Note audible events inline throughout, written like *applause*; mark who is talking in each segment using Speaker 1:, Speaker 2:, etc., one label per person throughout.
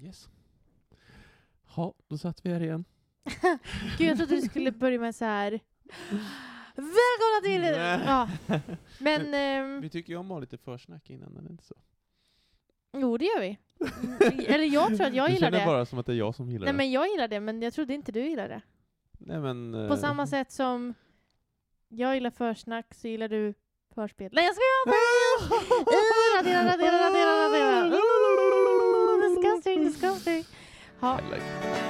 Speaker 1: Yes. Ja, då satt vi här igen.
Speaker 2: Gud, jag trodde du skulle börja med så här. Välkomna till...
Speaker 1: Nej. *laughs*
Speaker 2: Ja. Men, ehm,
Speaker 1: Vi tycker ju om att ha lite försnack innan, eller inte så?
Speaker 2: jo det gör vi. Eller jag tror att jag
Speaker 1: du
Speaker 2: gillar
Speaker 1: känner
Speaker 2: det.
Speaker 1: bara som att det är jag som gillar
Speaker 2: Nej men jag gillar det, men jag trodde inte du gillade det.
Speaker 1: det. Nej, men,
Speaker 2: På
Speaker 1: eh,
Speaker 2: samma sätt som jag gillar försnack så gillar du förspel. Nej jag ska Eh, radera, radera, radera, radera. Disgusting, disgusting. Ja,
Speaker 1: I like it. *laughs*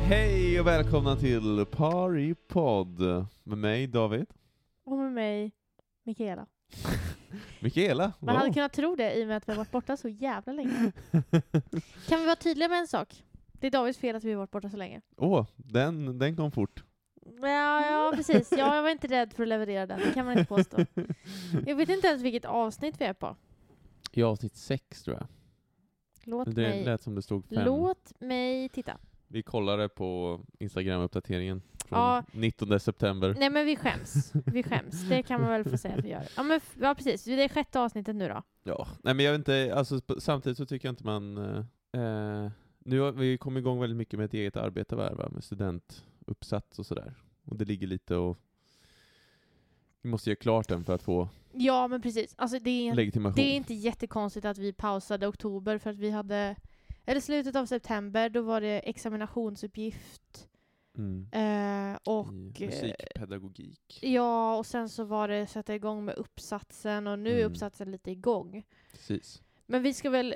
Speaker 1: Hej och välkomna till Paripod med mig David.
Speaker 2: och med mig Mikaela.
Speaker 1: Mikaela.
Speaker 2: Man
Speaker 1: wow.
Speaker 2: hade kunnat tro det i och med att vi har varit borta så jävla länge. Kan vi vara tydliga med en sak? Det är Davids fel att vi har varit borta så länge.
Speaker 1: Åh, den, den kom fort.
Speaker 2: Ja, ja precis. Ja, jag var inte rädd för att leverera den. Det kan man
Speaker 1: *laughs*
Speaker 2: inte påstå. Jag vet inte ens vilket avsnitt vi är på.
Speaker 1: I avsnitt sex tror jag.
Speaker 2: Låt
Speaker 1: Det
Speaker 2: mig,
Speaker 1: lät som det stod fem.
Speaker 2: låt mig titta.
Speaker 1: Vi kollade på Instagram-uppdateringen från
Speaker 2: Ja.
Speaker 1: 19 september.
Speaker 2: Nej men vi skäms. Vi skäms. Det kan man väl få säga att vi gör. Ja, men, f- ja precis. Det är sjätte avsnittet nu då.
Speaker 1: Ja, nej men jag vet inte, alltså sp- samtidigt så tycker jag inte man... eh, Eh, nu har vi kommit igång väldigt mycket med ett eget arbete va, va, med studentuppsats och sådär. Och det ligger lite och... Vi måste göra klart den för att få
Speaker 2: Ja men precis. Alltså, det, är,
Speaker 1: legitimation.
Speaker 2: det är inte jättekonstigt att vi pausade oktober för att vi hade eller slutet av september, då var det examinationsuppgift
Speaker 1: Mm.
Speaker 2: eh, och eh,
Speaker 1: I musikpedagogik.
Speaker 2: ja, och sen så var det sätta igång med uppsatsen och nu är
Speaker 1: Mm.
Speaker 2: uppsatsen lite igång.
Speaker 1: Precis.
Speaker 2: Men vi ska väl,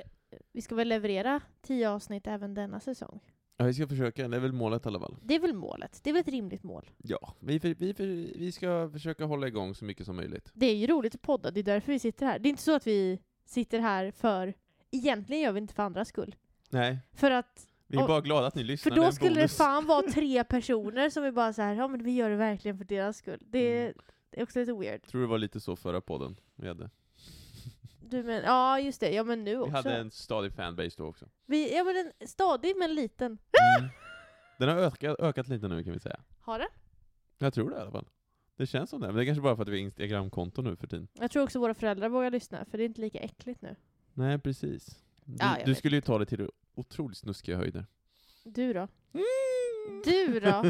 Speaker 2: vi ska väl leverera tio avsnitt även denna säsong?
Speaker 1: Ja, vi ska försöka, det är väl målet i alla fall.
Speaker 2: Det är väl målet? Det är väl ett rimligt mål?
Speaker 1: Ja, vi, för, vi, för, vi ska försöka hålla igång så mycket som möjligt.
Speaker 2: Det är ju roligt att podda, det är därför vi sitter här. Det är inte så att vi sitter här för... Egentligen gör vi inte för andras skull.
Speaker 1: Nej,
Speaker 2: För att...
Speaker 1: vi är
Speaker 2: Och-
Speaker 1: bara glada att ni lyssnar.
Speaker 2: För
Speaker 1: det är
Speaker 2: då
Speaker 1: en
Speaker 2: skulle det
Speaker 1: bonus.
Speaker 2: fan
Speaker 1: *laughs*
Speaker 2: vara tre personer som är bara så här, ja men vi gör det verkligen för deras skull. Det är,
Speaker 1: Mm.
Speaker 2: det är också lite weird.
Speaker 1: Tror det var lite så förra podden vi hade.
Speaker 2: Du men, ja just det, ja men nu
Speaker 1: Vi
Speaker 2: också.
Speaker 1: hade en stadig fanbase då också.
Speaker 2: Vi, ja men en stadig men liten.
Speaker 1: Mm. *laughs* Den har ökat, ökat lite nu kan vi säga.
Speaker 2: Har det?
Speaker 1: Jag tror det i alla fall. Det känns som det, men det är kanske bara för att vi har Instagramkonto nu för tiden.
Speaker 2: Jag tror också våra föräldrar vågar lyssna, för det är inte lika äckligt nu.
Speaker 1: Nej, precis. Du,
Speaker 2: Ja, jag
Speaker 1: du
Speaker 2: vet
Speaker 1: skulle ju ta det till otroligt snuskiga höjder.
Speaker 2: Du då?
Speaker 1: Mm. *laughs*
Speaker 2: Du då?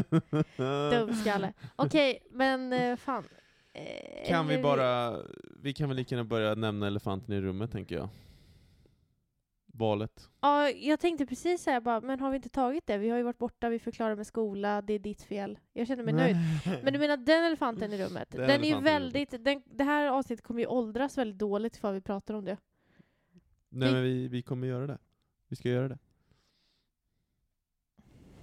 Speaker 2: Dumskalle. Okej, men eh, fan. Eh,
Speaker 1: Kan vi
Speaker 2: eller-
Speaker 1: bara, vi kan väl lika gärna börja nämna elefanten i rummet tänker jag. Valet.
Speaker 2: Ja, jag tänkte precis säga bara, men har vi inte tagit det? Vi har ju varit borta, vi förklarar med skola, det är ditt fel. Jag känner mig nöjd. Men du menar den elefanten i rummet?
Speaker 1: Den
Speaker 2: Den, är ju
Speaker 1: elefanten i rummet.
Speaker 2: väldigt, den, det här avsnittet kommer ju åldras väldigt dåligt för vi pratar om det.
Speaker 1: Nej men vi, vi kommer göra det. Vi ska göra det,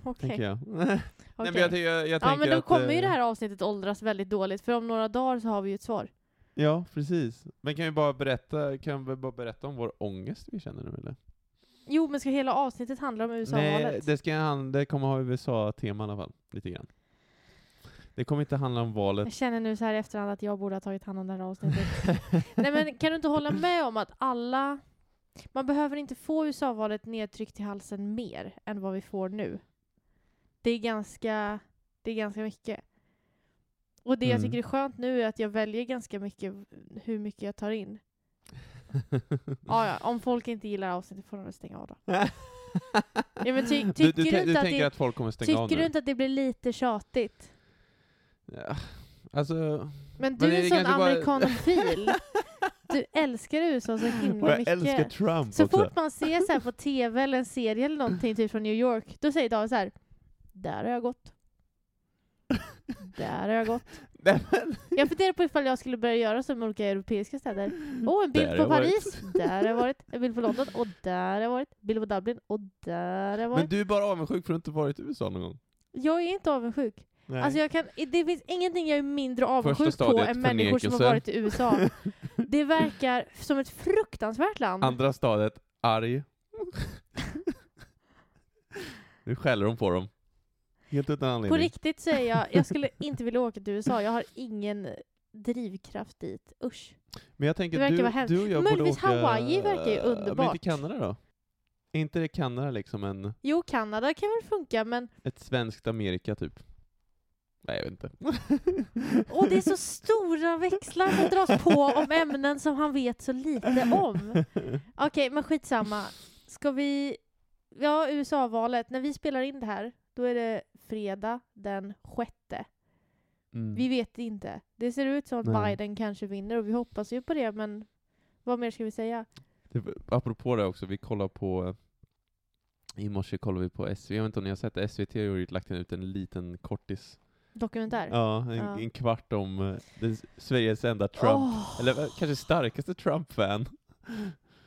Speaker 2: Okej.
Speaker 1: tänker jag. *laughs* Nej, men
Speaker 2: okej.
Speaker 1: jag, ty- jag, jag
Speaker 2: Ja
Speaker 1: tänker
Speaker 2: men då
Speaker 1: att,
Speaker 2: kommer ju
Speaker 1: eh,
Speaker 2: det här avsnittet åldras väldigt dåligt, för om några dagar så har vi ju ett svar.
Speaker 1: Ja, precis. Men kan vi bara berätta, kan vi bara berätta om vår ångest vi känner nu eller?
Speaker 2: Jo men ska hela avsnittet handla om
Speaker 1: Nej,
Speaker 2: USA-valet?
Speaker 1: det, ska han, det kommer ha USA-tema i alla fall, lite grann. Det kommer inte handla om valet.
Speaker 2: Jag känner nu så här i efterhand att jag borde ha tagit hand om det här avsnittet. *laughs* Nej men kan du inte
Speaker 1: *laughs*
Speaker 2: hålla med om att alla... Man behöver inte få USA-valet nedtryckt i halsen mer än vad vi får nu. Det är ganska, det är ganska mycket. Och det jag
Speaker 1: Mm.
Speaker 2: tycker är skönt nu är att jag väljer ganska mycket hur mycket jag tar in. Ah, ja, om folk inte gillar avsnittet får de väl stänga av då. Ja, men ty-
Speaker 1: du,
Speaker 2: tycker
Speaker 1: du,
Speaker 2: du
Speaker 1: tän-
Speaker 2: inte
Speaker 1: du
Speaker 2: att
Speaker 1: tänker
Speaker 2: det-
Speaker 1: att folk kommer stänga av
Speaker 2: Tycker
Speaker 1: nu?
Speaker 2: du inte att det blir lite tjatigt?
Speaker 1: Ja, alltså,
Speaker 2: Men du
Speaker 1: det
Speaker 2: är en
Speaker 1: är
Speaker 2: sån
Speaker 1: kanske bara- *laughs*
Speaker 2: amerikanofil. Du älskar USA så
Speaker 1: och *laughs*
Speaker 2: himla
Speaker 1: jag
Speaker 2: mycket.
Speaker 1: älskar Trump
Speaker 2: Så
Speaker 1: också.
Speaker 2: *laughs* fort man ser så här på tv eller en serie eller någonting typ från New York, då säger David så här. Där har jag gått. Där har jag gått.
Speaker 1: *laughs* Nej, men,
Speaker 2: Jag funderar på ifall jag skulle börja göra som olika europeiska städer. Åh, oh, en bild
Speaker 1: Mm. Där har
Speaker 2: på
Speaker 1: jag varit.
Speaker 2: Paris. Där har jag varit. En bild på London.
Speaker 1: *laughs*
Speaker 2: Och där har jag varit. Bild på Dublin. Och där har
Speaker 1: men
Speaker 2: jag varit.
Speaker 1: du är bara avundsjuk för att du inte varit i USA någon gång?
Speaker 2: Jag är inte avundsjuk.
Speaker 1: Nej.
Speaker 2: Alltså jag kan, det finns ingenting jag är mindre avundsjuk
Speaker 1: Första
Speaker 2: på
Speaker 1: stadiet,
Speaker 2: än människor som har
Speaker 1: förnekelse.
Speaker 2: varit i
Speaker 1: *laughs*
Speaker 2: USA. Det verkar som ett fruktansvärt land.
Speaker 1: Andra stadiet,
Speaker 2: *laughs*
Speaker 1: arg. nu skäller de på dem. Helt utan
Speaker 2: På
Speaker 1: anledning.
Speaker 2: riktigt så
Speaker 1: *laughs*
Speaker 2: är jag, jag skulle inte vilja åka till USA. Jag har ingen drivkraft dit. Usch.
Speaker 1: Men jag tänker
Speaker 2: Det verkar
Speaker 1: du,
Speaker 2: vara hemskt.
Speaker 1: du och jag
Speaker 2: Möjligtvis
Speaker 1: borde åka...
Speaker 2: Hawaii verkar ju
Speaker 1: Men
Speaker 2: underbart.
Speaker 1: inte Kanada då? Är inte det Kanada liksom en,
Speaker 2: Jo, Kanada kan väl funka, men
Speaker 1: ett svenskt Amerika typ? Nej, jag vet inte.
Speaker 2: åh, det
Speaker 1: *laughs*
Speaker 2: är så stora växlar som dras på om ämnen som han vet så lite om. Okej, men skitsamma. Ska vi... Ja, USA-valet. När vi spelar in det här, då är det fredag den sjätte.
Speaker 1: Mm.
Speaker 2: Vi vet inte. Det ser ut som att
Speaker 1: Nej.
Speaker 2: Biden kanske vinner och vi hoppas ju på det, men vad mer ska vi säga?
Speaker 1: Det, Typ, apropå det också, vi kollar på i morse kollade vi på SVT, jag vet inte om ni har sett det, SVT har ju lagt ut en liten kortis.
Speaker 2: Dokumentär?
Speaker 1: Ja, en,
Speaker 2: Ja.
Speaker 1: en kvart om eh, den, Sveriges enda Trump,
Speaker 2: Åh!
Speaker 1: eller eh, kanske starkaste Trump-fan.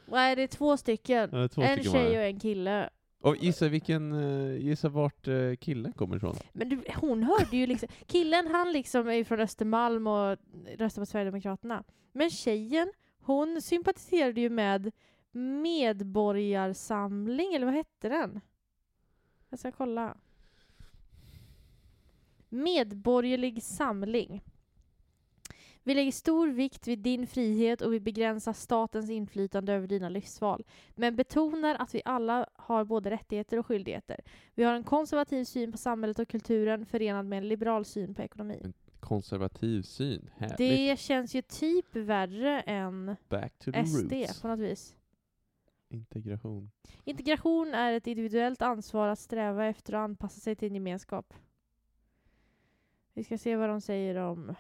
Speaker 2: Nej, det är två stycken.
Speaker 1: Eh, Två
Speaker 2: en
Speaker 1: stycken var
Speaker 2: tjej
Speaker 1: det.
Speaker 2: och en kille.
Speaker 1: Och gissa vilken, eh, gissa vart eh, killen kommer ifrån?
Speaker 2: Men du, hon hörde ju liksom... Killen, han liksom är ju från Östermalm och röstar på Sverigedemokraterna. Men tjejen, hon sympatiserade ju med Medborgarsamling, eller vad hette den? Jag ska kolla. Medborgerlig samling. Vi lägger stor vikt vid din frihet och vi begränsar statens inflytande över dina livsval. Men betonar att vi alla har både rättigheter och skyldigheter. Vi har en konservativ syn på samhället och kulturen förenad med en liberal syn på ekonomin.
Speaker 1: Konservativ syn, härligt.
Speaker 2: Det känns ju typ värre än
Speaker 1: Back to the
Speaker 2: SD
Speaker 1: roots.
Speaker 2: på något vis.
Speaker 1: Integration.
Speaker 2: Integration är ett individuellt ansvar att sträva efter och anpassa sig till en gemenskap. Vi ska se vad de säger om...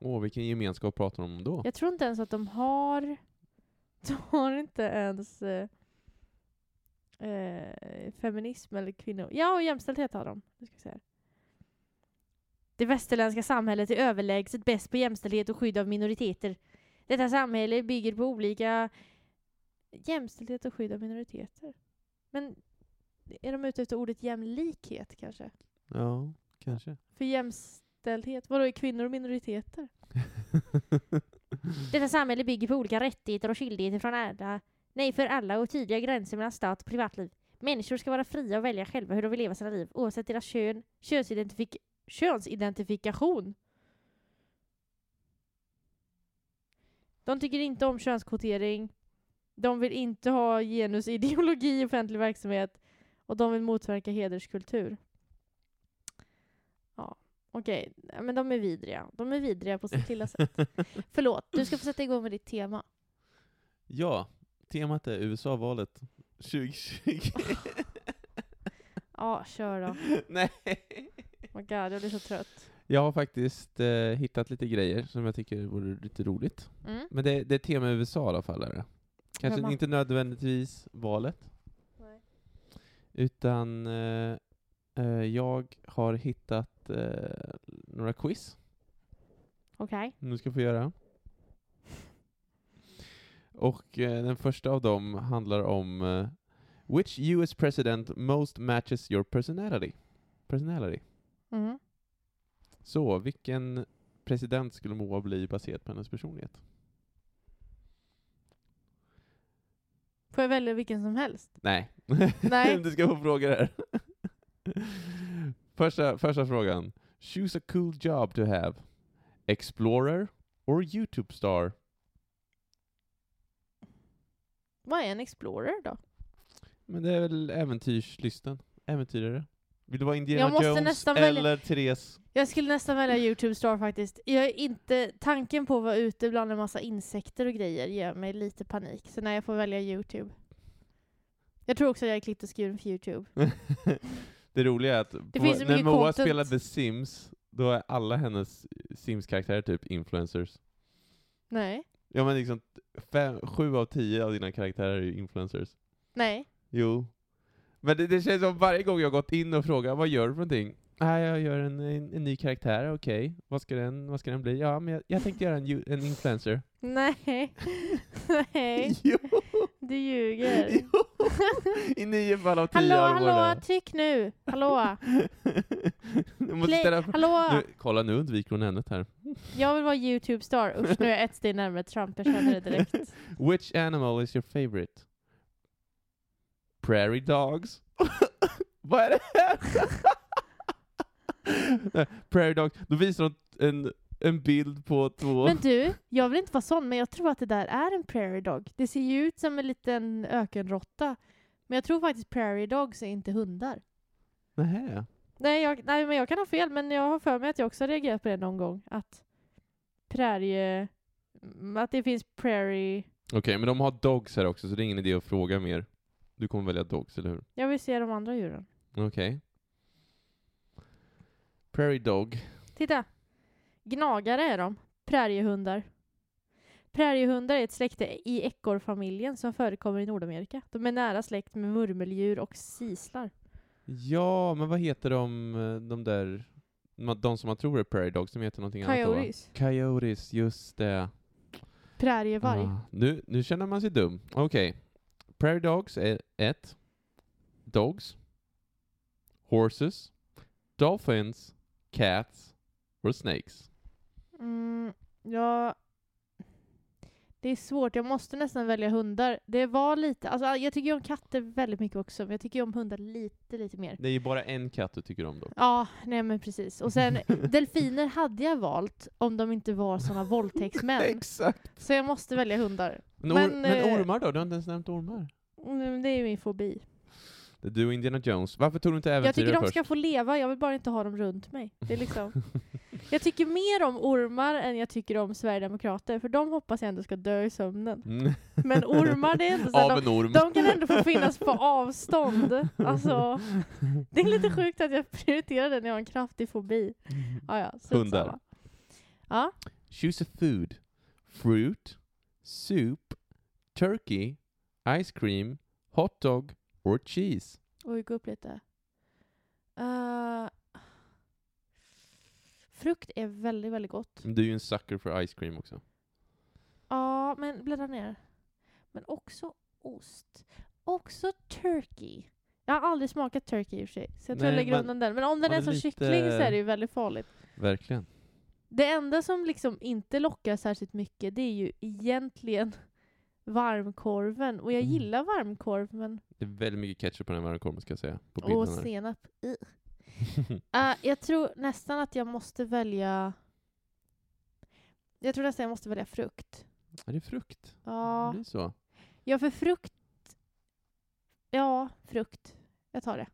Speaker 1: Åh, vilken gemenskap pratar de om då?
Speaker 2: Jag tror inte ens att de har... *laughs* De har inte ens eh, eh, feminism eller kvinnor... Ja, och jämställdhet har de. Nu ska vi se här. Det västerländska samhället är överlägset bäst på jämställdhet och skydd av minoriteter. Detta samhälle bygger på olika jämställdhet och skydd av minoriteter. Men är de ute efter ordet jämlikhet kanske?
Speaker 1: Ja, kanske.
Speaker 2: För jämställdhet, vadå är kvinnor och minoriteter? Detta samhälle bygger på olika rättigheter och skyldigheter från alla, nej för alla och tydliga gränser mellan stat och privatliv. Människor ska vara fria och välja själva hur de vill leva sina liv oavsett deras kön, könsidentifik- könsidentifikation. De tycker inte om könskvotering. De vill inte ha genusideologi i offentlig verksamhet. Och de vill motverka hederskultur. Ja, okej. Men de är vidriga. De är vidriga på sitt lilla sätt. Förlåt, du ska få sätta igång med ditt tema.
Speaker 1: ja, temat är USA-valet 2020.
Speaker 2: Ja, kör *laughs* då.
Speaker 1: Nej.
Speaker 2: Oh my God, jag blir så trött.
Speaker 1: Jag har faktiskt eh, hittat lite grejer som jag tycker vore lite roligt.
Speaker 2: Mm.
Speaker 1: Men det, det är tema USA i alla fall. Är det. Kanske
Speaker 2: Hemma.
Speaker 1: inte nödvändigtvis valet,
Speaker 2: Nej.
Speaker 1: utan eh, eh, jag har hittat eh, några quiz
Speaker 2: Okej.
Speaker 1: som du ska få göra. Och eh, den första av dem handlar om eh, Which US president most matches your personality? personality.
Speaker 2: Mm.
Speaker 1: Så, vilken president skulle må av bli baserat på hennes personlighet?
Speaker 2: Får jag välja vilken som helst?
Speaker 1: Nej.
Speaker 2: Nej.
Speaker 1: *laughs* du ska få frågor här. första, första frågan. Choose a cool job to have. Explorer or YouTube star?
Speaker 2: Vad är en explorer då?
Speaker 1: Men det är väl äventyrslysten? Äventyrare? Vill du vara
Speaker 2: Jag
Speaker 1: Indiana
Speaker 2: måste
Speaker 1: Jones
Speaker 2: nästan välja-
Speaker 1: eller Therese?
Speaker 2: Jag skulle nästan välja YouTube Star faktiskt. Jag är inte, tanken på att vara ute bland en massa insekter och grejer ger mig lite panik. Så när jag får välja YouTube. Jag tror också att jag är klippt och skuren för YouTube.
Speaker 1: det roliga är att på,
Speaker 2: finns så
Speaker 1: när
Speaker 2: mycket
Speaker 1: Moa
Speaker 2: content.
Speaker 1: spelar The Sims, då är alla hennes Sims-karaktärer typ influencers.
Speaker 2: Nej.
Speaker 1: Ja men liksom, fem, sju av tio av dina karaktärer är ju influencers.
Speaker 2: Nej.
Speaker 1: Jo. Men det, det känns som varje gång jag gått in och frågat vad gör du för någonting? Nej, jag gör en, en, en ny karaktär, okej. Vad, ska den, vad ska den bli? Ja, men jag, jag tänkte göra en, ju- en influencer.
Speaker 2: Nej. *laughs* Nej.
Speaker 1: *laughs* Jo!
Speaker 2: Du ljuger.
Speaker 1: jo. I nio fall av tio
Speaker 2: Hallå,
Speaker 1: har det
Speaker 2: hallå,
Speaker 1: varit
Speaker 2: tryck nu. Hallå.
Speaker 1: det. *laughs* Du måste
Speaker 2: Play.
Speaker 1: ställa fr-
Speaker 2: Hallå.
Speaker 1: nu, kolla, nu undviker hon ämnet här.
Speaker 2: Jag vill vara YouTube-star. Usch, nu är jag ett steg närmare Trump. Jag känner det direkt.
Speaker 1: Which animal is your favorite? *laughs* Prairie dogs? vad är det här? *laughs* Nej, Prairie Dogs. Då visar de en, en bild på två...
Speaker 2: Men du, jag vill inte vara sån, men jag tror att det där är en prairie dog. Det ser ju ut som en liten ökenrotta. Men jag tror faktiskt prairie dogs är inte hundar.
Speaker 1: Nähä.
Speaker 2: Nej, jag, nej, men jag kan ha fel, men jag har för mig att jag också har reagerat på det någon gång. Att prärie... m, Att det finns prairie...
Speaker 1: Okej, men de har dogs här också, så det är ingen idé att fråga mer. Du kommer välja dogs, eller hur?
Speaker 2: Jag vill se de andra djuren.
Speaker 1: Okej. Prairie Dog.
Speaker 2: Titta! Gnagare är de. Präriehundar. Präriehundar är ett släkte i ekorrfamiljen som förekommer i Nordamerika. De är nära släkt med murmeldjur och sislar.
Speaker 1: Ja, men vad heter de, eh, de där... De som man tror är Prairie Dogs, de heter någonting annat då, va?
Speaker 2: Coyotes.
Speaker 1: Coyotes, just det.
Speaker 2: Prärievarg.
Speaker 1: Ah, nu, nu känner man sig dum. Okej. Prairie Dogs är ett. Dogs. Horses. Dolphins. Cats. Och snakes.
Speaker 2: Mm, ja, det är svårt. Jag måste nästan välja hundar. Det var lite, alltså, jag tycker ju om katter väldigt mycket också, men jag tycker ju om hundar lite, lite mer.
Speaker 1: Det är ju bara en katt du tycker om dock.
Speaker 2: Ja, nej men precis. Och sen, delfiner hade jag valt om de inte var såna våldtäktsmän.
Speaker 1: *laughs* Exakt!
Speaker 2: Så jag måste välja hundar.
Speaker 1: Men, or-
Speaker 2: Men,
Speaker 1: men,
Speaker 2: eh,
Speaker 1: ormar då? Du har inte ens nämnt ormar.
Speaker 2: Mm, Det är ju min fobi.
Speaker 1: Det är du och Indiana Jones. Varför tog du inte
Speaker 2: Jag tycker
Speaker 1: äventyrare
Speaker 2: de
Speaker 1: först?
Speaker 2: ska få leva, jag vill bara inte ha dem runt mig. Det
Speaker 1: *laughs*
Speaker 2: är liksom... Jag tycker mer om ormar än jag tycker om Sverigedemokrater, för de hoppas jag ändå ska dö i sömnen.
Speaker 1: Mm.
Speaker 2: Men ormar, det är ändå
Speaker 1: *laughs*
Speaker 2: så här, Alltså, de-
Speaker 1: Av en orm.
Speaker 2: De kan ändå få finnas på avstånd. Alltså, det är lite sjukt att jag prioriterar det när jag har en kraftig fobi. Ah, ja, strunt
Speaker 1: Hundar.
Speaker 2: samma. Ja,
Speaker 1: Choose a food. Fruit. Soup. Turkey. Ice cream. Hot dog. Or cheese.
Speaker 2: oj, gå upp lite. Eh, frukt är väldigt, väldigt gott.
Speaker 1: Du är ju en sucker för ice cream också.
Speaker 2: Ja, men bläddra ner. Men också ost. Också turkey. Jag har aldrig smakat turkey i och för sig, så jag tror jag
Speaker 1: Nej,
Speaker 2: lägger
Speaker 1: man-
Speaker 2: undan den. Men om den
Speaker 1: man
Speaker 2: är
Speaker 1: är
Speaker 2: som
Speaker 1: lite-
Speaker 2: kyckling så är det ju väldigt farligt.
Speaker 1: Verkligen.
Speaker 2: Det enda som liksom inte lockar särskilt mycket det är ju egentligen *laughs* varmkorven. Och jag
Speaker 1: Mm.
Speaker 2: gillar varmkorv men...
Speaker 1: Det är väldigt mycket ketchup på den här varmkorven ska jag säga. På bilden
Speaker 2: Och
Speaker 1: här.
Speaker 2: senap. I.
Speaker 1: *laughs*
Speaker 2: Eh, jag tror nästan att jag måste välja... Jag tror nästan jag måste välja frukt.
Speaker 1: är det frukt?
Speaker 2: Ja,
Speaker 1: Det är så.
Speaker 2: ja för frukt... Ja, frukt. Jag tar det.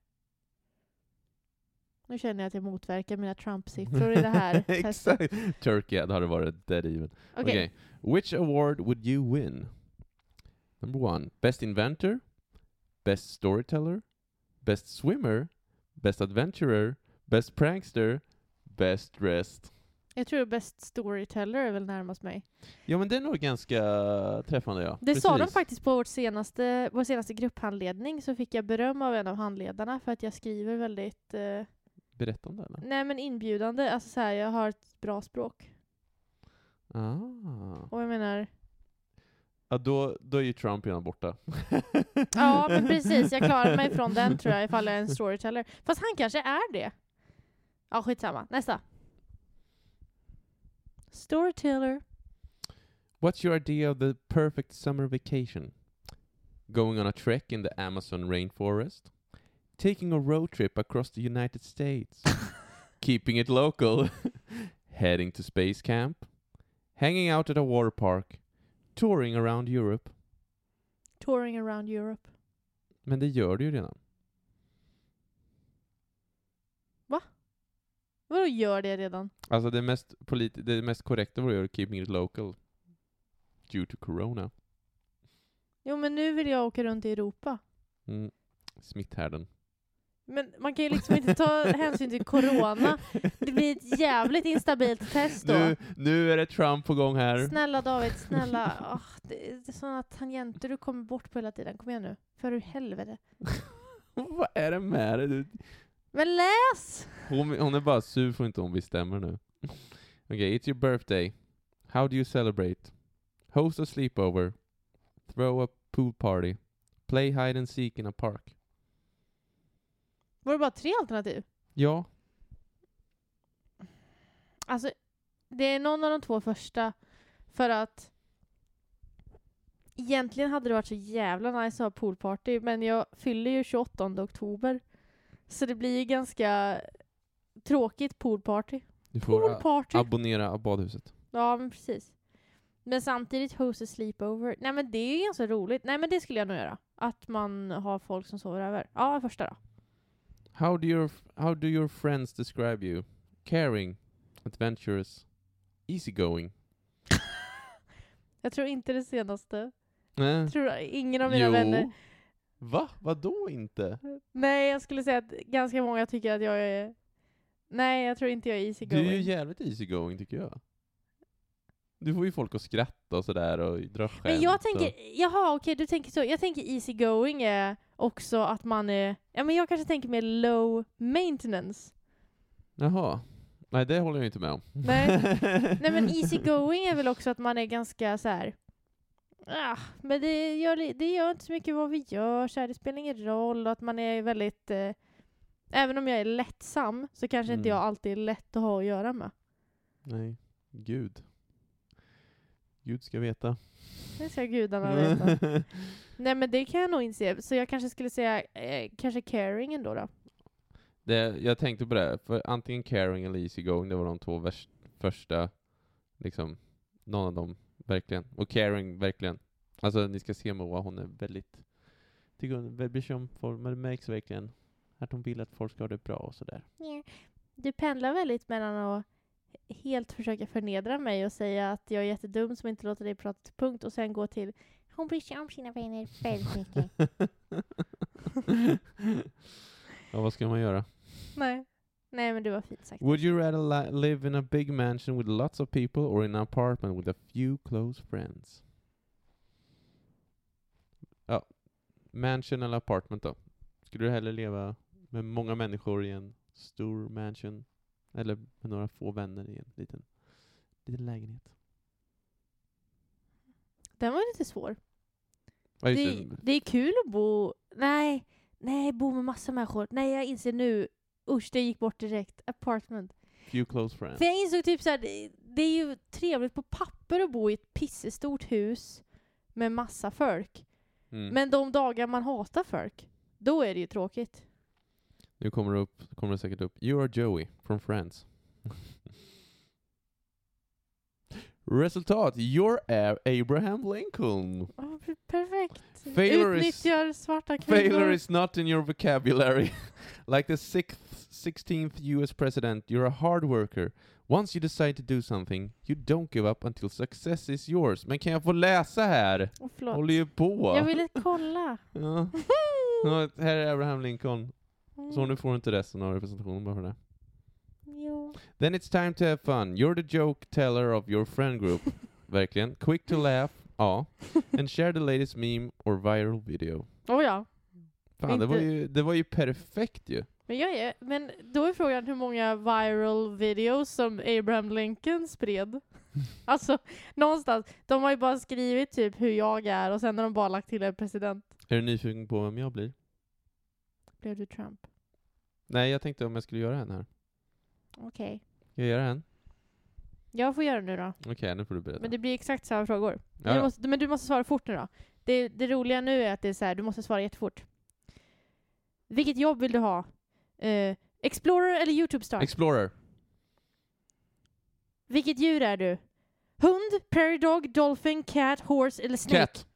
Speaker 2: Nu känner jag att jag motverkar mina Trump-siffror i
Speaker 1: *laughs*
Speaker 2: det här testet.
Speaker 1: Exakt. Turkey, det hade varit dead even.
Speaker 2: Okej.
Speaker 1: Okay. Which award would you win? Number one, best inventor, best storyteller, best swimmer, best adventurer, best prankster, best dressed.
Speaker 2: Jag tror Best Storyteller är väl närmast mig.
Speaker 1: Ja men det är nog ganska träffande ja.
Speaker 2: Det sa de
Speaker 1: Precis.
Speaker 2: faktiskt på vårt senaste, vår senaste grupphandledning, så fick jag beröm av en av handledarna för att jag skriver väldigt, eh,
Speaker 1: Berätta om det eller?
Speaker 2: nej men inbjudande, alltså så här, jag har ett bra språk.
Speaker 1: Ah.
Speaker 2: Och jag menar,
Speaker 1: Ja, då, då är ju Trump redan borta. *laughs*
Speaker 2: ja men precis, jag klarar mig från den tror jag ifall jag är en storyteller. Fast han kanske är det. Ja skitsamma, nästa. Storyteller.
Speaker 1: What's your idea of the perfect summer vacation? Going on a trek in the Amazon rainforest? Taking a road trip across the United
Speaker 2: *laughs*
Speaker 1: States? Keeping it local? *laughs* Heading to space camp? Hanging out at a water park? Touring around Europe?
Speaker 2: Touring around Europe.
Speaker 1: Men det gör du ju redan.
Speaker 2: Vadå gör det redan?
Speaker 1: Alltså det mest, polit- det mest korrekta vore ju keeping it local. Due to corona.
Speaker 2: Jo men nu vill jag åka runt i Europa.
Speaker 1: Mm. Smitthärden.
Speaker 2: Men man kan ju liksom
Speaker 1: *laughs*
Speaker 2: inte ta hänsyn till corona. Det blir ett jävligt instabilt test då.
Speaker 1: Nu, nu är det Trump på gång här.
Speaker 2: Snälla David, snälla. Ah, det är sådana tangenter du kommer bort på hela tiden. Kom igen nu. För ur helvete.
Speaker 1: *laughs* Vad är det med dig? Du-
Speaker 2: Men läs!
Speaker 1: Hon, hon är bara sur för inte hon bestämmer nu. Okej, it's your birthday. How do you celebrate? Host a sleepover. Throw a pool party. Play hide and seek in a park.
Speaker 2: Var det bara tre alternativ?
Speaker 1: Ja,
Speaker 2: Alltså, det är någon av de två första. För att egentligen hade det varit så jävla nice att ha poolparty, men jag fyller ju 28 oktober. Så det blir ju ganska Tråkigt poolparty.
Speaker 1: Du får a-
Speaker 2: Poolparty!
Speaker 1: abonnera badhuset.
Speaker 2: Ja, men precis. Men samtidigt host a sleepover. Nej men det är ju ganska roligt. Nej men det skulle jag nog göra. Att man har folk som sover över. Ja, första då.
Speaker 1: How do, your, how do your friends describe you? Caring, adventurous, easygoing.
Speaker 2: Jag tror inte det senaste.
Speaker 1: Nej.
Speaker 2: Jag tror ingen av mina
Speaker 1: Jo.
Speaker 2: vänner.
Speaker 1: Va? Vadå inte?
Speaker 2: Nej, jag skulle säga att ganska många tycker att jag är... Nej, jag tror inte jag
Speaker 1: Du
Speaker 2: är
Speaker 1: är ju
Speaker 2: easygoing.
Speaker 1: jävligt easygoing tycker jag. Du får ju folk att skratta och sådär och dra skämt.
Speaker 2: Men jag
Speaker 1: och...
Speaker 2: tänker, jaha okej du tänker så. Jag tänker easygoing är också att man är, ja men jag kanske tänker mer low maintenance.
Speaker 1: Jaha. Nej, det håller jag inte med om.
Speaker 2: Nej.
Speaker 1: *laughs*
Speaker 2: Nej men easygoing är väl också att man är ganska så här. Ah, men det gör, li- det gör inte så mycket vad vi gör, så här, det spelar ingen roll och att man är väldigt... Eh, även om jag är lättsam så kanske inte
Speaker 1: Mm.
Speaker 2: jag alltid är lätt att ha att göra med.
Speaker 1: Nej. Gud. Gud ska veta.
Speaker 2: Det
Speaker 1: *laughs*
Speaker 2: ska gudarna veta. Nej men det kan jag nog inse, så jag kanske skulle säga eh, kanske caring ändå då.
Speaker 1: det, jag tänkte på det, här, för antingen caring eller easygoing, det var de två vers, första, liksom, någon av dem, verkligen. Och caring, verkligen. Alltså ni ska se Moa, hon är väldigt, tycker hon är väldigt bryr sig om folk, men det märks verkligen att hon vill att folk ska ha det bra och sådär.
Speaker 2: Du pendlar väldigt mellan att helt försöka förnedra mig och säga att jag är jättedum som inte låter dig prata till punkt och sen gå till hon bryr sig om sina vänner väldigt mycket.
Speaker 1: *laughs* ja, vad ska man göra?
Speaker 2: *laughs* Nej. Nej men det var fint sagt.
Speaker 1: Would you rather li- live in a big mansion with lots of people or in an apartment with a few close friends? Ja, mansion eller apartment då? Skulle du hellre leva med många människor i en stor mansion? Eller med några få vänner i en liten, liten lägenhet?
Speaker 2: Den var lite svår.
Speaker 1: Ja,
Speaker 2: Det,
Speaker 1: just det.
Speaker 2: är- det är kul att bo... Nej, nej, bo med massa människor. Nej, jag inser nu. Usch, det gick bort direkt. Apartment.
Speaker 1: Few close friends.
Speaker 2: För jag insåg typ så här, det, det är ju trevligt på papper att bo i ett pissestort hus med massa folk.
Speaker 1: Mm.
Speaker 2: Men de dagar man hatar folk, då är det ju tråkigt.
Speaker 1: Nu kommer det, upp, kommer det säkert upp. You are Joey from Friends. *laughs* Resultat. You're A- Abraham Lincoln.
Speaker 2: Ja, per- Perfekt.
Speaker 1: Failure is-
Speaker 2: Utnyttjar svarta kvinnor.
Speaker 1: Failure is not in your vocabulary. *laughs* like the sixth, 16th US president, you're a hard worker. Once you decide to do something, you don't give up until success is yours. Men kan jag få läsa här?
Speaker 2: Åh,
Speaker 1: Håller
Speaker 2: förlåt.
Speaker 1: ju på.
Speaker 2: Jag ville kolla.
Speaker 1: Ja. *laughs* Ja, här är Abraham Lincoln. Så
Speaker 2: Mm.
Speaker 1: nu får du inte resten av representationen bara för det.
Speaker 2: Jo.
Speaker 1: Then it's time to have fun. You're the joke teller of your friend
Speaker 2: *laughs*
Speaker 1: group. Verkligen. Quick
Speaker 2: Mm.
Speaker 1: to laugh. Ja. And share the latest meme or viral video.
Speaker 2: Oh, ja.
Speaker 1: Fan, det var,
Speaker 2: Inte-
Speaker 1: ju, det var ju perfekt ju.
Speaker 2: Men, jag är, men då är frågan hur många viral videos som Abraham
Speaker 1: *laughs*
Speaker 2: Lincoln spred. alltså, någonstans. De har ju bara skrivit typ hur jag är och sen har de bara lagt till en president.
Speaker 1: Är du nyfiken på vem jag blir?
Speaker 2: Blev du Trump?
Speaker 1: Nej, jag tänkte om jag skulle göra en här.
Speaker 2: Okej.
Speaker 1: Ska jag göra en?
Speaker 2: Jag får göra det nu då.
Speaker 1: Okej, nu får du berätta.
Speaker 2: Men det blir exakt samma frågor.
Speaker 1: ja,
Speaker 2: Du
Speaker 1: då.
Speaker 2: måste, men du måste svara fort nu då. Det, det roliga nu är att det är så här, du måste svara jättefort. Vilket jobb vill du ha? Eh, Explorer eller YouTube-star?
Speaker 1: Explorer.
Speaker 2: Vilket djur är du? Hund, prairie dog, dolphin, cat, horse eller snake?
Speaker 1: Cat.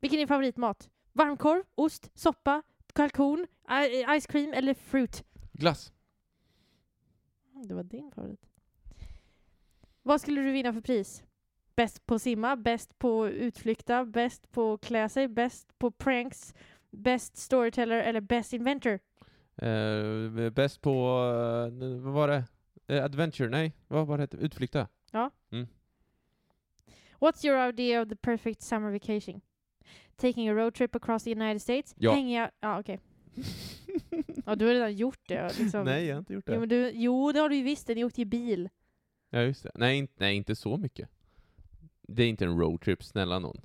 Speaker 2: Vilken är din favoritmat? Varmkorv, ost, soppa, kalkon, i- ice cream eller fruit?
Speaker 1: Glass.
Speaker 2: Det var din favorit. Vad skulle du vinna för pris? Bäst på simma, bäst på utflykta, bäst på klä sig, bäst på pranks, bäst storyteller eller bäst inventor?
Speaker 1: Eh, bäst på... eh, vad var det? Eh, adventure? Nej, vad var det? hette? Utflykta?
Speaker 2: What's your idea of the perfect summer vacation? Taking a road trip across the United States?
Speaker 1: Ja.
Speaker 2: Hanging out... Ja, okej. Ja, du har redan gjort det.
Speaker 1: *laughs*
Speaker 2: Liksom.
Speaker 1: Nej, jag har inte gjort det.
Speaker 2: Jo, men du, jo, det har du ju visst. Ni åkte ju bil.
Speaker 1: Ja, just det. Nej, inte, nej, inte så mycket. Det är inte en roadtrip, snälla någon.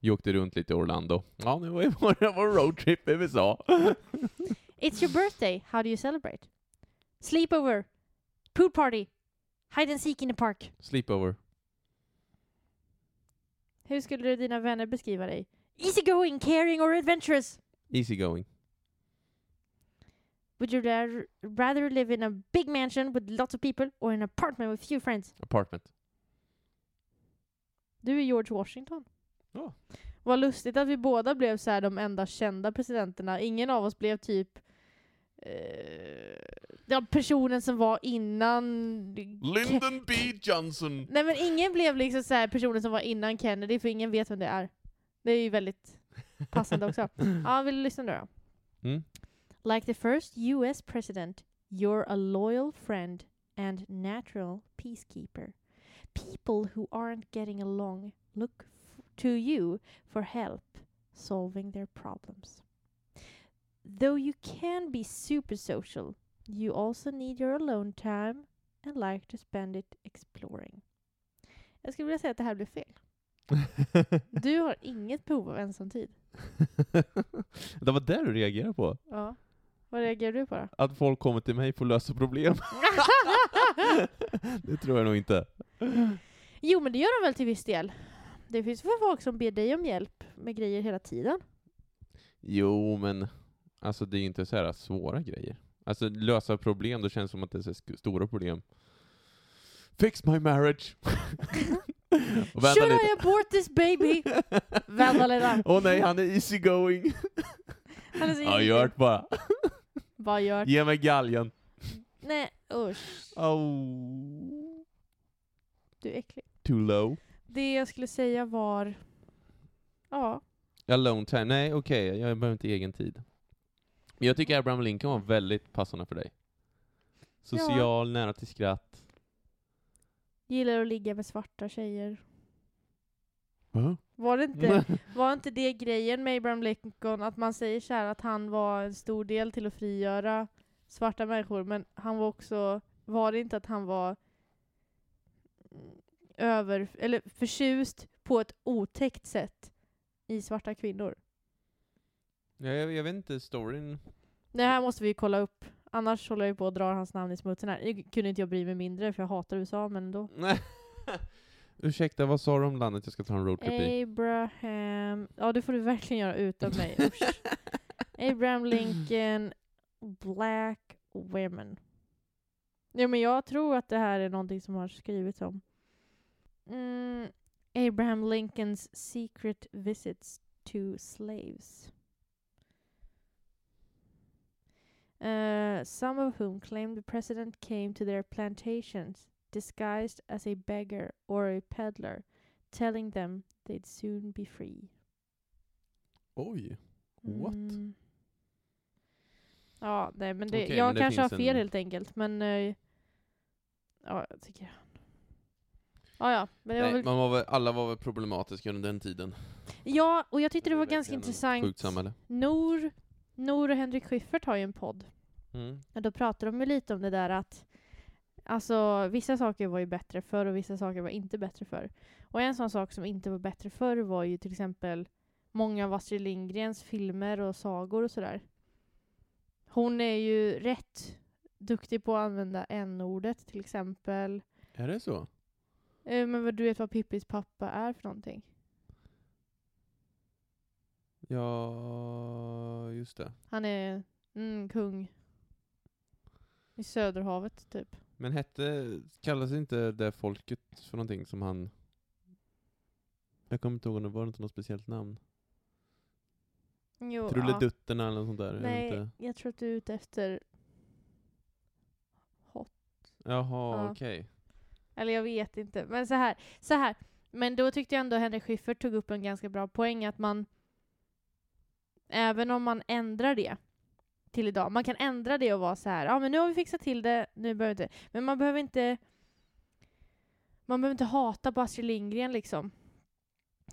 Speaker 1: Jag åkte runt lite i Orlando. Ja, nu var ju *laughs* bara vår roadtrip i USA.
Speaker 2: It's your birthday. How do you celebrate? Sleepover. Pool party. Hide and seek in the park.
Speaker 1: Sleepover.
Speaker 2: Hur skulle dina vänner beskriva dig? Easygoing, caring or adventurous?
Speaker 1: Easy going.
Speaker 2: Would you rar- rather live in a big mansion with lots of people or in an apartment with few friends?
Speaker 1: Apartment.
Speaker 2: Du är George Washington.
Speaker 1: Ja.
Speaker 2: Vad lustigt att vi båda blev så här de enda kända presidenterna. Ingen av oss blev typ eh, ja, personen som var innan...
Speaker 1: Lyndon B Johnson!
Speaker 2: Nej men ingen blev liksom så här personen som var innan Kennedy, för ingen vet vem det är. Det är ju väldigt
Speaker 1: *laughs*
Speaker 2: passande också. Ja, vill du lyssna då?
Speaker 1: Mm. *laughs*
Speaker 2: Like the first US president, you're a loyal friend and natural peacekeeper. People who aren't getting along look f- to you for help solving their problems. Though you can be super social, you also need your alone time and like to spend it exploring. Jag skulle vilja säga att det här blev fel. Du har inget behov av ensamtid.
Speaker 1: det var där du reagerade på?
Speaker 2: Ja. Vad reagerar du på då?
Speaker 1: Att folk kommer till mig för att lösa
Speaker 2: *laughs*
Speaker 1: problem? *laughs* det tror jag nog inte.
Speaker 2: Jo, men det gör de väl till viss del. Det finns väl folk som ber dig om hjälp med grejer hela tiden.
Speaker 1: Jo, men alltså det är ju inte så här svåra grejer. Alltså lösa problem, då känns det som att det är så här sk- stora problem. Fix my
Speaker 2: *laughs*
Speaker 1: marriage! Och vänta
Speaker 2: Should
Speaker 1: lite.
Speaker 2: I abort this
Speaker 1: *laughs*
Speaker 2: baby? Vänta lite.
Speaker 1: Åh nej, han är easy going.
Speaker 2: Han är så
Speaker 1: Ja,
Speaker 2: jävla-
Speaker 1: gör det
Speaker 2: *laughs*
Speaker 1: bara.
Speaker 2: Vad gör?
Speaker 1: Ge mig galgen.
Speaker 2: Nej, usch.
Speaker 1: Oh.
Speaker 2: Du är äcklig.
Speaker 1: Too low.
Speaker 2: Det jag skulle säga var... Ja.
Speaker 1: Alone time. Nej, okej, jag behöver inte egen tid. Men jag tycker Abraham Lincoln var väldigt passande för dig. Social, nära till skratt.
Speaker 2: Gillar att ligga med svarta tjejer.
Speaker 1: Va?
Speaker 2: Var
Speaker 1: *laughs*
Speaker 2: det inte, var inte det grejen med Abraham Lincoln? Att man säger så här att han var en stor del till att frigöra svarta människor, men han var också... Var det inte att han var över, eller förtjust på ett otäckt sätt i svarta kvinnor?
Speaker 1: Ja, jag, jag vet inte, storyn... *laughs*
Speaker 2: Det här måste vi ju kolla upp. Annars håller jag ju på och drar hans namn i smutsen här. Nu kunde inte jag bry mig mindre för jag hatar USA, men ändå.
Speaker 1: Nej. Ursäkta, vad sa du om landet jag ska ta en roadtrip i?
Speaker 2: Abraham... Ja, det får du verkligen göra utan Eh,
Speaker 1: *laughs*
Speaker 2: mig. Usch. Abraham Lincoln, Black Women. Ja, men jag tror att det här är någonting som har skrivits om. Mm, Abraham Lincolns secret visits to slaves. Uh, some of whom claimed the president came to their plantations disguised as a beggar or a peddler, telling them they'd soon be free.
Speaker 1: Oj. What?
Speaker 2: Mm. Ja, nej men det,
Speaker 1: Okej,
Speaker 2: jag
Speaker 1: men det
Speaker 2: kanske har
Speaker 1: finns
Speaker 2: fel
Speaker 1: en-
Speaker 2: helt enkelt, men... eh, ja, jag tycker han... Ja, ja, men det var
Speaker 1: Nej,
Speaker 2: väl...
Speaker 1: man var väl, alla var väl problematiska under den tiden.
Speaker 2: Ja, och jag tyckte det var
Speaker 1: verkligen
Speaker 2: ganska
Speaker 1: ett Sjukt
Speaker 2: intressant.
Speaker 1: samhälle.
Speaker 2: Nor, Nor och Henrik Schyffert har ju en podd.
Speaker 1: Mm.
Speaker 2: Och då pratar de ju lite om det där att alltså, vissa saker var ju bättre förr och vissa saker var inte bättre förr. Och en sån sak som inte var bättre förr var ju till exempel många av Astrid Lindgrens filmer och sagor och sådär. Hon är ju rätt duktig på att använda n-ordet till exempel.
Speaker 1: Är det så?
Speaker 2: Eh, Men vad- du vet vad Pippis pappa är för någonting?
Speaker 1: Ja, just det.
Speaker 2: Han är mm, kung. I Söderhavet, typ.
Speaker 1: Men hette, kallas inte det folket för någonting som han... Jag kommer inte ihåg om det var inte något speciellt namn.
Speaker 2: Jo, ja.
Speaker 1: Trulledutterna eller något sånt där. jag vet
Speaker 2: Nej,
Speaker 1: Inte.
Speaker 2: jag tror att du är ute efter hot.
Speaker 1: Jaha,
Speaker 2: Ja.
Speaker 1: okej.
Speaker 2: Eller jag vet inte. Men så här. Så här. Men då tyckte jag ändå Henrik Schyffert tog upp en ganska bra poäng att man även om man ändrar det till idag, man kan ändra det och vara så här, ja men nu har vi fixat till det, nu behöver vi inte, men man behöver inte man behöver inte hata på Astrid Lindgren liksom.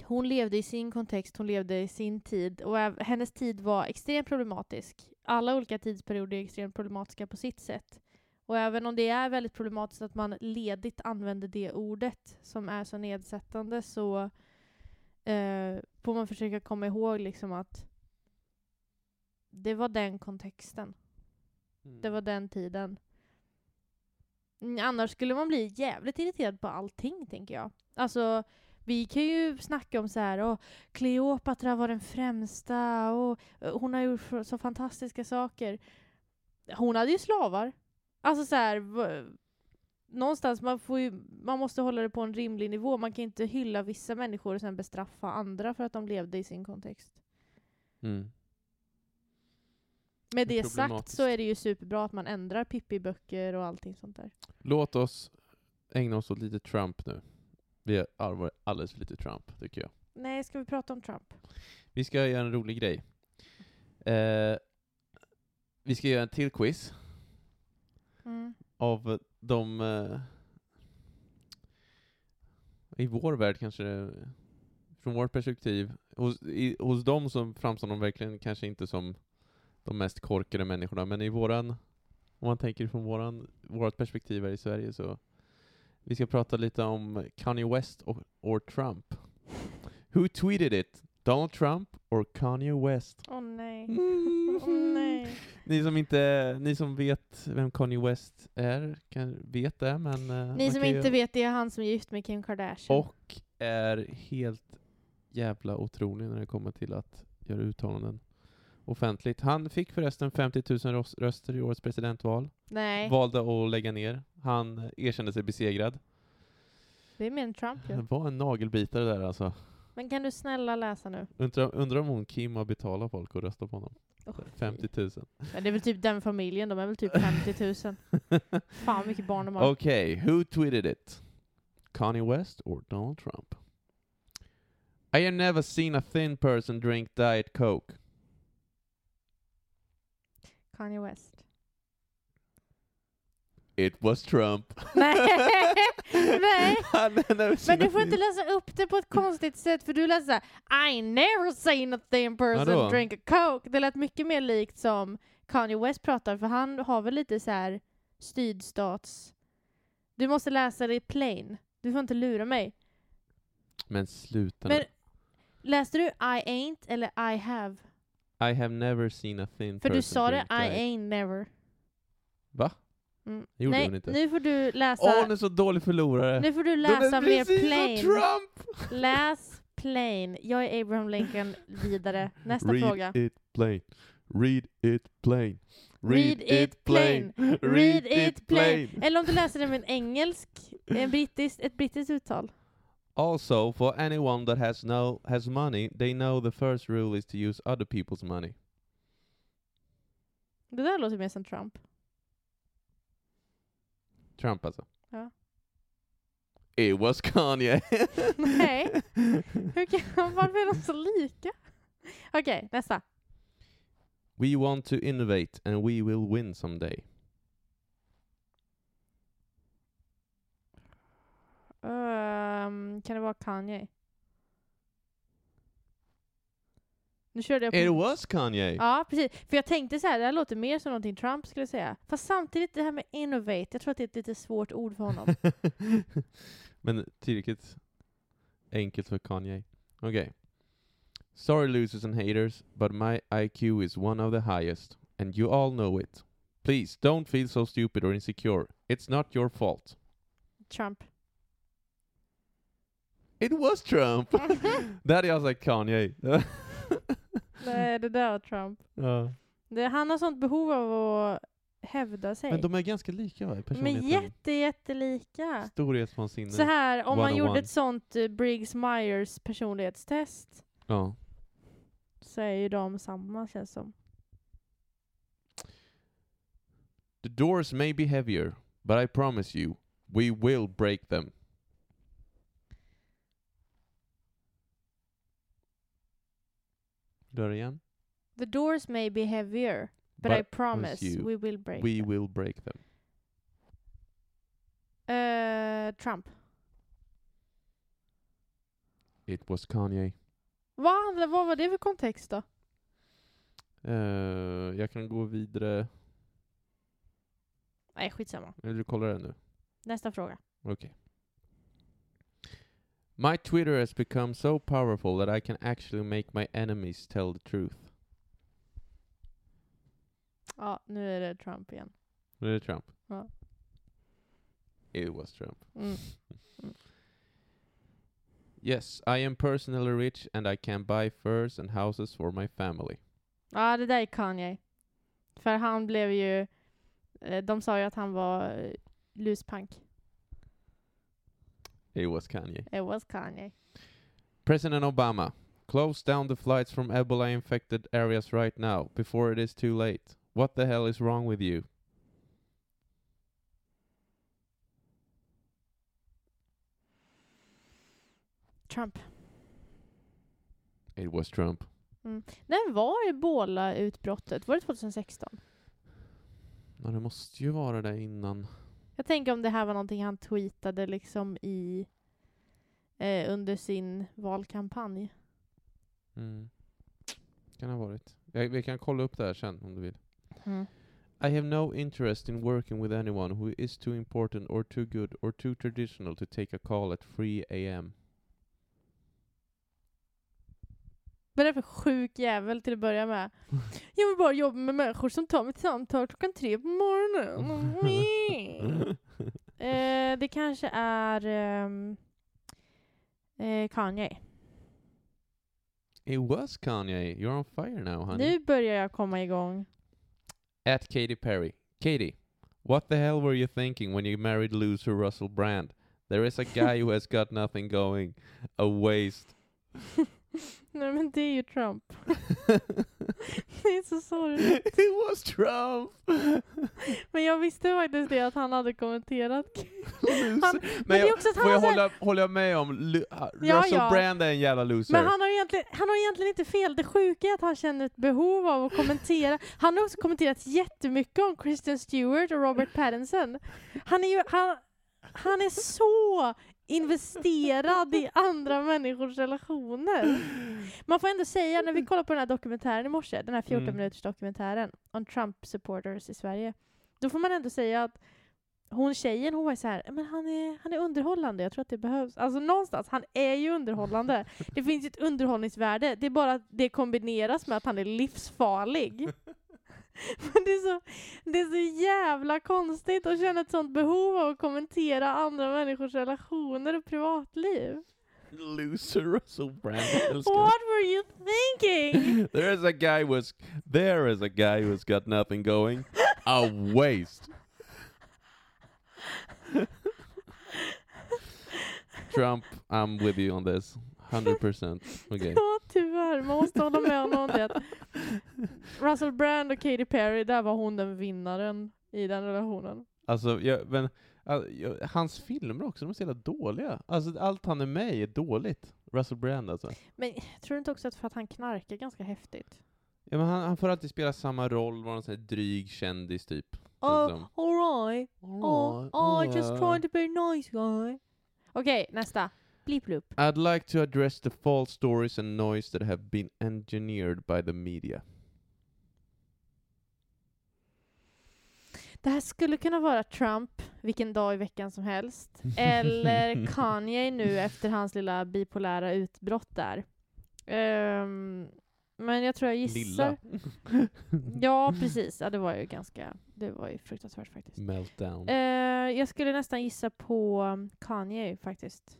Speaker 2: Hon levde i sin kontext, hon levde i sin tid och äv- hennes tid var extremt problematisk. Alla olika tidsperioder är extremt problematiska på sitt sätt. Och även om det är väldigt problematiskt att man ledigt använder det ordet som är så nedsättande så eh, får man försöka komma ihåg liksom att det var den kontexten, det var den tiden. Mm, Annars skulle man bli jävligt irriterad på allting, tänker jag. Alltså, vi kan ju snacka om så här, och Kleopatra var den främsta och eh, hon har gjort så fantastiska saker. hon hade ju slavar. Alltså så här, v- någonstans, man, får ju, man måste hålla det på en rimlig nivå. Man kan inte hylla vissa människor och sen bestraffa andra för att de levde i sin kontext.
Speaker 1: Mm.
Speaker 2: Med
Speaker 1: Det är
Speaker 2: det sagt
Speaker 1: problematiskt.
Speaker 2: så är det ju superbra att man ändrar Pippi-böcker och allting sånt där.
Speaker 1: Låt oss ägna oss åt lite Trump nu. Vi arvar alldeles för lite Trump, tycker jag.
Speaker 2: Nej, ska vi prata om Trump?
Speaker 1: Vi ska göra en rolig grej. Eh, vi ska göra en till quiz
Speaker 2: Mm.
Speaker 1: av de... Eh, I vår värld kanske det, Från vårt perspektiv. Hos, i, hos dem som framstår de verkligen kanske inte som de mest korkade människorna, men i våran... Om man tänker från våran, vårat perspektiv här i Sverige så... Vi ska prata lite om Kanye West och or Trump. Who tweeted it? Donald Trump or Kanye West?
Speaker 2: Åh nej. *laughs*
Speaker 1: Mm-hmm.
Speaker 2: Åh nej.
Speaker 1: Ni som inte, ni som vet vem Kanye West är, kan, vet det, men... eh,
Speaker 2: Ni
Speaker 1: man
Speaker 2: som
Speaker 1: kan ju-
Speaker 2: inte vet, det är han som är gift med Kim Kardashian.
Speaker 1: Och är helt jävla otrolig när det kommer till att göra uttalanden offentligt. Han fick förresten 50 000 ros- röster i årets presidentval.
Speaker 2: Nej,
Speaker 1: Valde att lägga ner. Han erkände sig besegrad.
Speaker 2: det är mer än Trump ju.
Speaker 1: Det *laughs* var en nagelbitare där alltså.
Speaker 2: Men kan du snälla läsa nu?
Speaker 1: Undrar undra om hon Kim har betalat folk att rösta på honom.
Speaker 2: Åh,
Speaker 1: 50 000.
Speaker 2: Ja, det är väl typ den familjen, de är väl typ 50 000. Fan vad mycket barn de har.
Speaker 1: Okay, who tweeted it? Kanye West or Donald Trump? I have never seen a thin person drink Diet Coke.
Speaker 2: Kanye West.
Speaker 1: It was
Speaker 2: *laughs*
Speaker 1: Trump.
Speaker 2: Nej. Nej.
Speaker 1: Han har never seen
Speaker 2: Men du
Speaker 1: a
Speaker 2: får
Speaker 1: thin-
Speaker 2: inte läsa upp det på ett konstigt sätt, för du läser såhär I never seen a thin person
Speaker 1: Vadå?
Speaker 2: drink a coke. Det lät mycket mer likt som Kanye West pratar, för han har väl lite så här sydstats... Du måste läsa det i plain. Du får inte lura mig.
Speaker 1: Men sluta
Speaker 2: Men
Speaker 1: nu.
Speaker 2: läste du I ain't eller I have?
Speaker 1: I have never seen a thin
Speaker 2: För
Speaker 1: person
Speaker 2: du sa det
Speaker 1: drink
Speaker 2: I
Speaker 1: diet.
Speaker 2: ain't never.
Speaker 1: Va?
Speaker 2: Mm.
Speaker 1: Det gjorde
Speaker 2: Nej,
Speaker 1: hon inte.
Speaker 2: nu får du läsa...
Speaker 1: Åh, hon är så dålig förlorare.
Speaker 2: Nu får du
Speaker 1: Den är
Speaker 2: läsa mer
Speaker 1: precis som
Speaker 2: plain.
Speaker 1: Trump!
Speaker 2: Läs plain. Jag är Abraham Lincoln. Vidare. Nästa
Speaker 1: Read
Speaker 2: fråga.
Speaker 1: it plain. Read it plain.
Speaker 2: Read it plain. Read it plain.
Speaker 1: plain.
Speaker 2: Eller om du läser det med en engelsk, en brittisk, ett brittiskt uttal.
Speaker 1: Also, for anyone that has no has money, they know the first rule is to use other people's money.
Speaker 2: Det där låter mer som Trump. *laughs*
Speaker 1: Trump alltså.
Speaker 2: Ja.
Speaker 1: It was *laughs* Kanye.
Speaker 2: Nej. Hur kan, *laughs* varför är de så lika? Okej, nästa.
Speaker 1: *laughs* we want to innovate and we will win someday.
Speaker 2: Ehm, kan det vara Kanye? Nu körde jag på...
Speaker 1: It was Kanye.
Speaker 2: Ja, precis. För jag tänkte så här, det här låter mer som någonting Trump skulle säga. Fast samtidigt, det här med innovate, jag tror att det är ett lite svårt ord för
Speaker 1: *laughs*
Speaker 2: honom.
Speaker 1: Men tillräckligt enkelt för Kanye. Okay. Sorry losers and haters, but my IQ is one of the highest, and you all know it. Please don't feel so stupid or insecure. It's not your fault.
Speaker 2: Trump.
Speaker 1: It was
Speaker 2: *laughs*
Speaker 1: Trump! Där hade jag sagt Kanye.
Speaker 2: Nej, det där var Trump.
Speaker 1: Ja.
Speaker 2: Det, han har sånt behov av att hävda sig.
Speaker 1: Men de är ganska lika va? i
Speaker 2: Men
Speaker 1: Personligheten. Mm.
Speaker 2: jätte, jättelika.
Speaker 1: Storhetsvansinne.
Speaker 2: Så här, om man gjorde
Speaker 1: 101.
Speaker 2: ett sånt eh, Briggs-Myers personlighetstest
Speaker 1: Ja.
Speaker 2: så är ju de samma känns som.
Speaker 1: The doors may be heavier, but I promise you, we will break them. Dör igen.
Speaker 2: The doors may be heavier, but, I promise
Speaker 1: you,
Speaker 2: we will break
Speaker 1: we
Speaker 2: them.
Speaker 1: will break them.
Speaker 2: Eh, Trump.
Speaker 1: It was Kanye.
Speaker 2: Va? Vad var det för kontext då?
Speaker 1: Eh, jag kan gå vidare.
Speaker 2: Nej, skitsamma.
Speaker 1: Vill du kolla det nu?
Speaker 2: Nästa fråga.
Speaker 1: My Twitter has become so powerful that I can actually make my enemies tell the truth.
Speaker 2: Ja, nu är det Trump igen.
Speaker 1: Det är Trump.
Speaker 2: Ja.
Speaker 1: It was Trump.
Speaker 2: Mm.
Speaker 1: Yes, I am personally rich and I can buy furs and houses for my family.
Speaker 2: Ja, det där är Kanye. För han blev ju Eh, De sa ju att han var eh, luspank.
Speaker 1: It was Kanye.
Speaker 2: It was Kanye.
Speaker 1: President Obama, close down the flights from Ebola infected areas right now before it is too late. What the hell is wrong with you?
Speaker 2: Trump.
Speaker 1: It was Trump.
Speaker 2: När var ebola-utbrottet? Var det 2016?
Speaker 1: Ja, det måste ju vara det innan.
Speaker 2: Jag tänker om det här var någonting han tweetade liksom i eh, under sin valkampanj.
Speaker 1: Mm. Kan ha varit. Jag, vi kan kolla upp det här sen om du vill. I have no interest in working with anyone who is too important or too good or too traditional to take a call at 3 a.m.
Speaker 2: Vad är det för sjuk jävel till att börja med? Jag vill bara jobba med människor som tar mitt samtal klockan tre på morgonen. Mm. eh, det kanske är ehm, eh, Kanye.
Speaker 1: It was Kanye. You're on fire now, honey.
Speaker 2: Nu börjar jag komma igång.
Speaker 1: At Katy Perry. Katy, what the hell were you thinking when you married loser Russell Brand? There is a guy who has got nothing going. A
Speaker 2: *laughs*
Speaker 1: waste.
Speaker 2: Nej men det är ju Trump. *laughs*
Speaker 1: it
Speaker 2: Det är så sorgligt.
Speaker 1: was
Speaker 2: *laughs*
Speaker 1: Trump!
Speaker 2: Men jag visste faktiskt det att han hade kommenterat.
Speaker 1: Loser.
Speaker 2: Han- men
Speaker 1: men
Speaker 2: det är
Speaker 1: jag,
Speaker 2: också att han
Speaker 1: får jag
Speaker 2: har så här-
Speaker 1: hålla, håller jag med om, lu- ah,
Speaker 2: Ja,
Speaker 1: Russell
Speaker 2: ja.
Speaker 1: Brand är en jävla loser.
Speaker 2: Men han har, egentligen, han har egentligen inte fel. Det sjuka är att han känner ett behov av att kommentera. Han har också kommenterat jättemycket om Kristen Stewart och Robert Pattinson. Han är ju, han, han är så investerad i andra människors relationer. Man får ändå säga, när vi kollar på den här dokumentären i morse, den här 14
Speaker 1: Mm.
Speaker 2: minuters dokumentären om Trump supporters i Sverige, då får man ändå säga att hon tjejen, hon var ju så här, men han är, han är underhållande, jag tror att det behövs. Alltså någonstans, han är ju underhållande. Det finns ju ett underhållningsvärde, det är bara att det kombineras med att han är livsfarlig. Men det, är så, det är så jävla konstigt att känna ett sånt behov av att kommentera andra människors relationer och privatliv.
Speaker 1: Loser Russell
Speaker 2: *laughs*
Speaker 1: Brand. Jag älskar det.
Speaker 2: What were you thinking?
Speaker 1: there is a guy who's there is a guy who's got nothing going. A waste. Trump, I'm with you on this. 100%. Okay.
Speaker 2: *laughs* Ja, tyvärr. Man måste hålla med honom om det. Russell Brand och Katy Perry, där var hon den vinnaren i den relationen.
Speaker 1: Alltså, jag, men, all, jag, hans filmer också, de är så jävla dåliga. Alltså, allt han är med i är dåligt. Russell Brand alltså.
Speaker 2: Men tror du inte också att för att han knarkar ganska häftigt?
Speaker 1: Ja, men han, han får alltid spela samma roll, vara någon sån här dryg kändis typ.
Speaker 2: Oh,
Speaker 1: Liksom.
Speaker 2: alright. Oh, oh, just trying to be a nice guy. Okej, nästa. Bleep loop.
Speaker 1: I'd like to address the false stories and noise that have been engineered by the media.
Speaker 2: Det här skulle kunna vara Trump vilken dag i veckan som helst. Eller Kanye nu efter hans lilla bipolära utbrott där. Ehm, men jag tror jag gissar...
Speaker 1: Lilla
Speaker 2: Ja, precis. Ja, det var ju ganska... Det var ju fruktansvärt faktiskt.
Speaker 1: Mm. meltdown.
Speaker 2: Eh, jag skulle nästan gissa på um, Kanye faktiskt.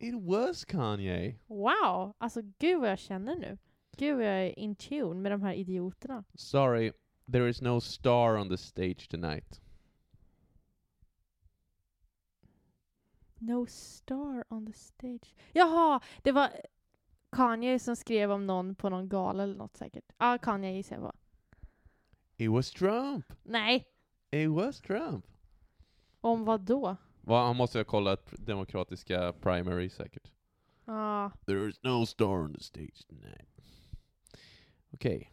Speaker 1: It was Kanye.
Speaker 2: Wow! Alltså gud vad jag känner nu. Gud vad jag är in tune med de här idioterna.
Speaker 1: Sorry, there is no star on the stage tonight.
Speaker 2: No star on the stage. Jaha! Det var Kanye som skrev om någon på någon gala eller något säkert. Ja, ah, Kanye gissar jag på.
Speaker 1: It was Trump.
Speaker 2: Nej!
Speaker 1: It was Trump.
Speaker 2: Om vad då?
Speaker 1: Va, han måste ha kollat pr- demokratiska primary säkert.
Speaker 2: Ah,
Speaker 1: There is no star on the stage tonight. Okay.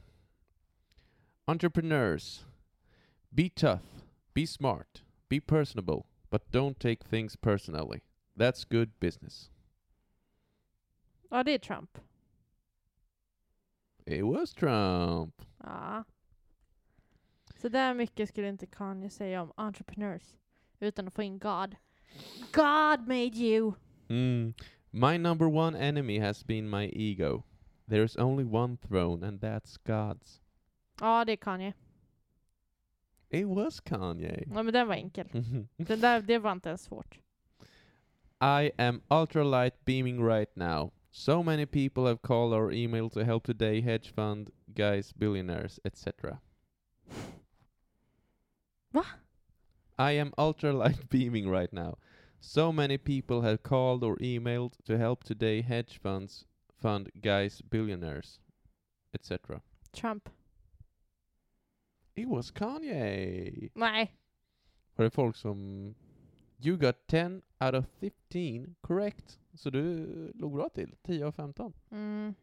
Speaker 1: Entrepreneurs, be tough, be smart, be personable, but don't take things personally. That's good business.
Speaker 2: ja, det är Trump.
Speaker 1: It was Trump.
Speaker 2: Ja. Så där mycket skulle inte Kanye säga om entrepreneurs. Utan att få in God. God made you!
Speaker 1: Mm. My number one enemy has been my ego. There's only one throne, and that's God's.
Speaker 2: Ja, det är Kanye.
Speaker 1: It was Kanye. *laughs* Mm-hmm.
Speaker 2: Ja, men den var enkel. Den där, det var inte ens svårt.
Speaker 1: I am ultralight beaming right now. So many people have called or emailed to help today hedge fund guys, billionaires, etc.
Speaker 2: Va?
Speaker 1: I am ultralight *laughs* beaming right now. So many people have called or emailed to help today hedge funds fund guys billionaires, etc.
Speaker 2: Trump.
Speaker 1: It was Kanye.
Speaker 2: Nej.
Speaker 1: Var det folk som... You got 10 out of 15 correct. Så du låg bra till. 10 av 15.
Speaker 2: Mm.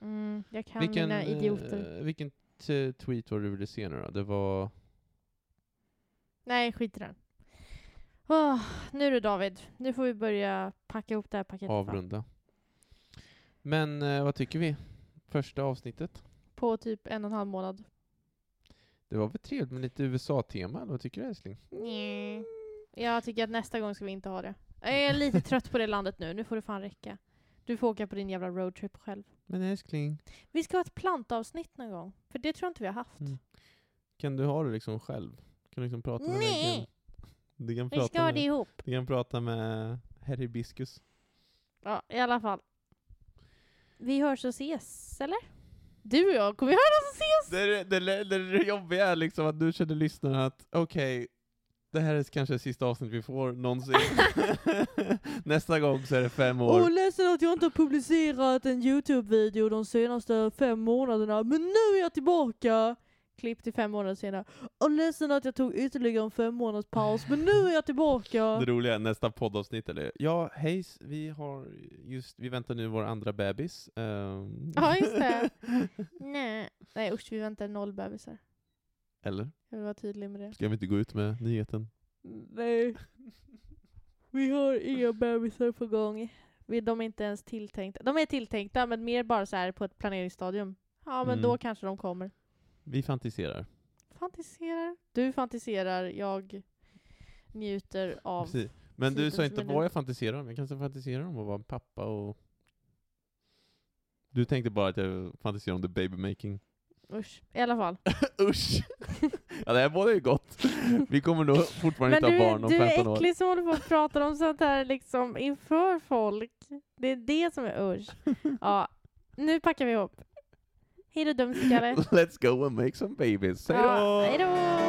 Speaker 2: Mm. Jag kan mina
Speaker 1: eh,
Speaker 2: idioter.
Speaker 1: vilken t- tweet var det du ville se nu då? Det var...
Speaker 2: Nej, skit i den. Åh, nu du David, nu får vi börja packa ihop det här paketet. va?
Speaker 1: avrunda. Men eh, vad tycker vi? Första avsnittet.
Speaker 2: På typ en och en halv månad.
Speaker 1: Det var väl trevligt med lite USA-tema, eller vad tycker du älskling?
Speaker 2: Nej. Jag tycker att nästa gång ska vi inte ha det. Jag är lite trött på det landet nu, nu får det fan räcka. Du får åka på din jävla roadtrip själv.
Speaker 1: Men älskling,
Speaker 2: Vi ska ha ett plantavsnitt någon gång, för det tror jag inte vi har haft.
Speaker 1: Mm. kan du ha det liksom själv? Kan du liksom prata med
Speaker 2: Nej.
Speaker 1: väggen? Du kan
Speaker 2: Vi
Speaker 1: prata
Speaker 2: ska ha det
Speaker 1: med,
Speaker 2: ihop.
Speaker 1: du kan prata med herr Hibiskus.
Speaker 2: Ja, i alla fall. Vi hörs och ses, eller? Du och jag, kommer vi höras och ses?
Speaker 1: Det, det, det, det jobbiga är liksom att du känner lyssnaren att okej, det här är kanske sista avsnitt vi får någonsin. *laughs* Nästa gång så är det fem år.
Speaker 3: Åh, ledsen att jag inte har publicerat en Youtube-video de senaste fem månaderna, men nu är jag tillbaka!
Speaker 2: Klipp till fem månader senare.
Speaker 3: Åh, ledsen att jag tog ytterligare en fem månaders paus, men nu är jag tillbaka!
Speaker 1: *laughs* Det roliga är nästa poddavsnitt eller? Ja, hejs, vi har just, vi väntar nu vår andra bebis. Ehm,
Speaker 2: Ja, just det. Nej. Nej usch, vi väntar noll bebisar.
Speaker 1: *laughs* Eller?
Speaker 2: Jag vill vara tydlig med det.
Speaker 1: Ska vi inte gå ut med nyheten?
Speaker 3: Nej,
Speaker 2: Vi har inga bebisar på gång. Vi, de är inte ens tilltänkta. De är tilltänkta, men mer bara så här på ett planeringsstadium. Ja, men
Speaker 1: Mm.
Speaker 2: då kanske de kommer.
Speaker 1: Vi fantiserar.
Speaker 2: Fantiserar. Du fantiserar, jag njuter av...
Speaker 1: Precis. Men du sa
Speaker 2: Tidens
Speaker 1: inte
Speaker 2: minut.
Speaker 1: vad jag fantiserar om. Jag kanske fantiserar om att vara en pappa och... Du tänkte bara att jag fantiserar om the babymaking.
Speaker 2: Usch. I alla fall.
Speaker 1: *laughs* Usch! ja, det här båda är ju gott. Vi kommer nog fortfarande
Speaker 2: Men
Speaker 1: inte
Speaker 2: du,
Speaker 1: ha barn om
Speaker 2: du är
Speaker 1: 15 år.
Speaker 2: äcklig som håller på och pratar om sånt här liksom inför folk. Det är det som är usch. Ja, nu packar vi ihop. Hej då
Speaker 1: *laughs*
Speaker 2: dumskalle.
Speaker 1: Let's go and make some babies. Hej då!
Speaker 2: Ja, hej då!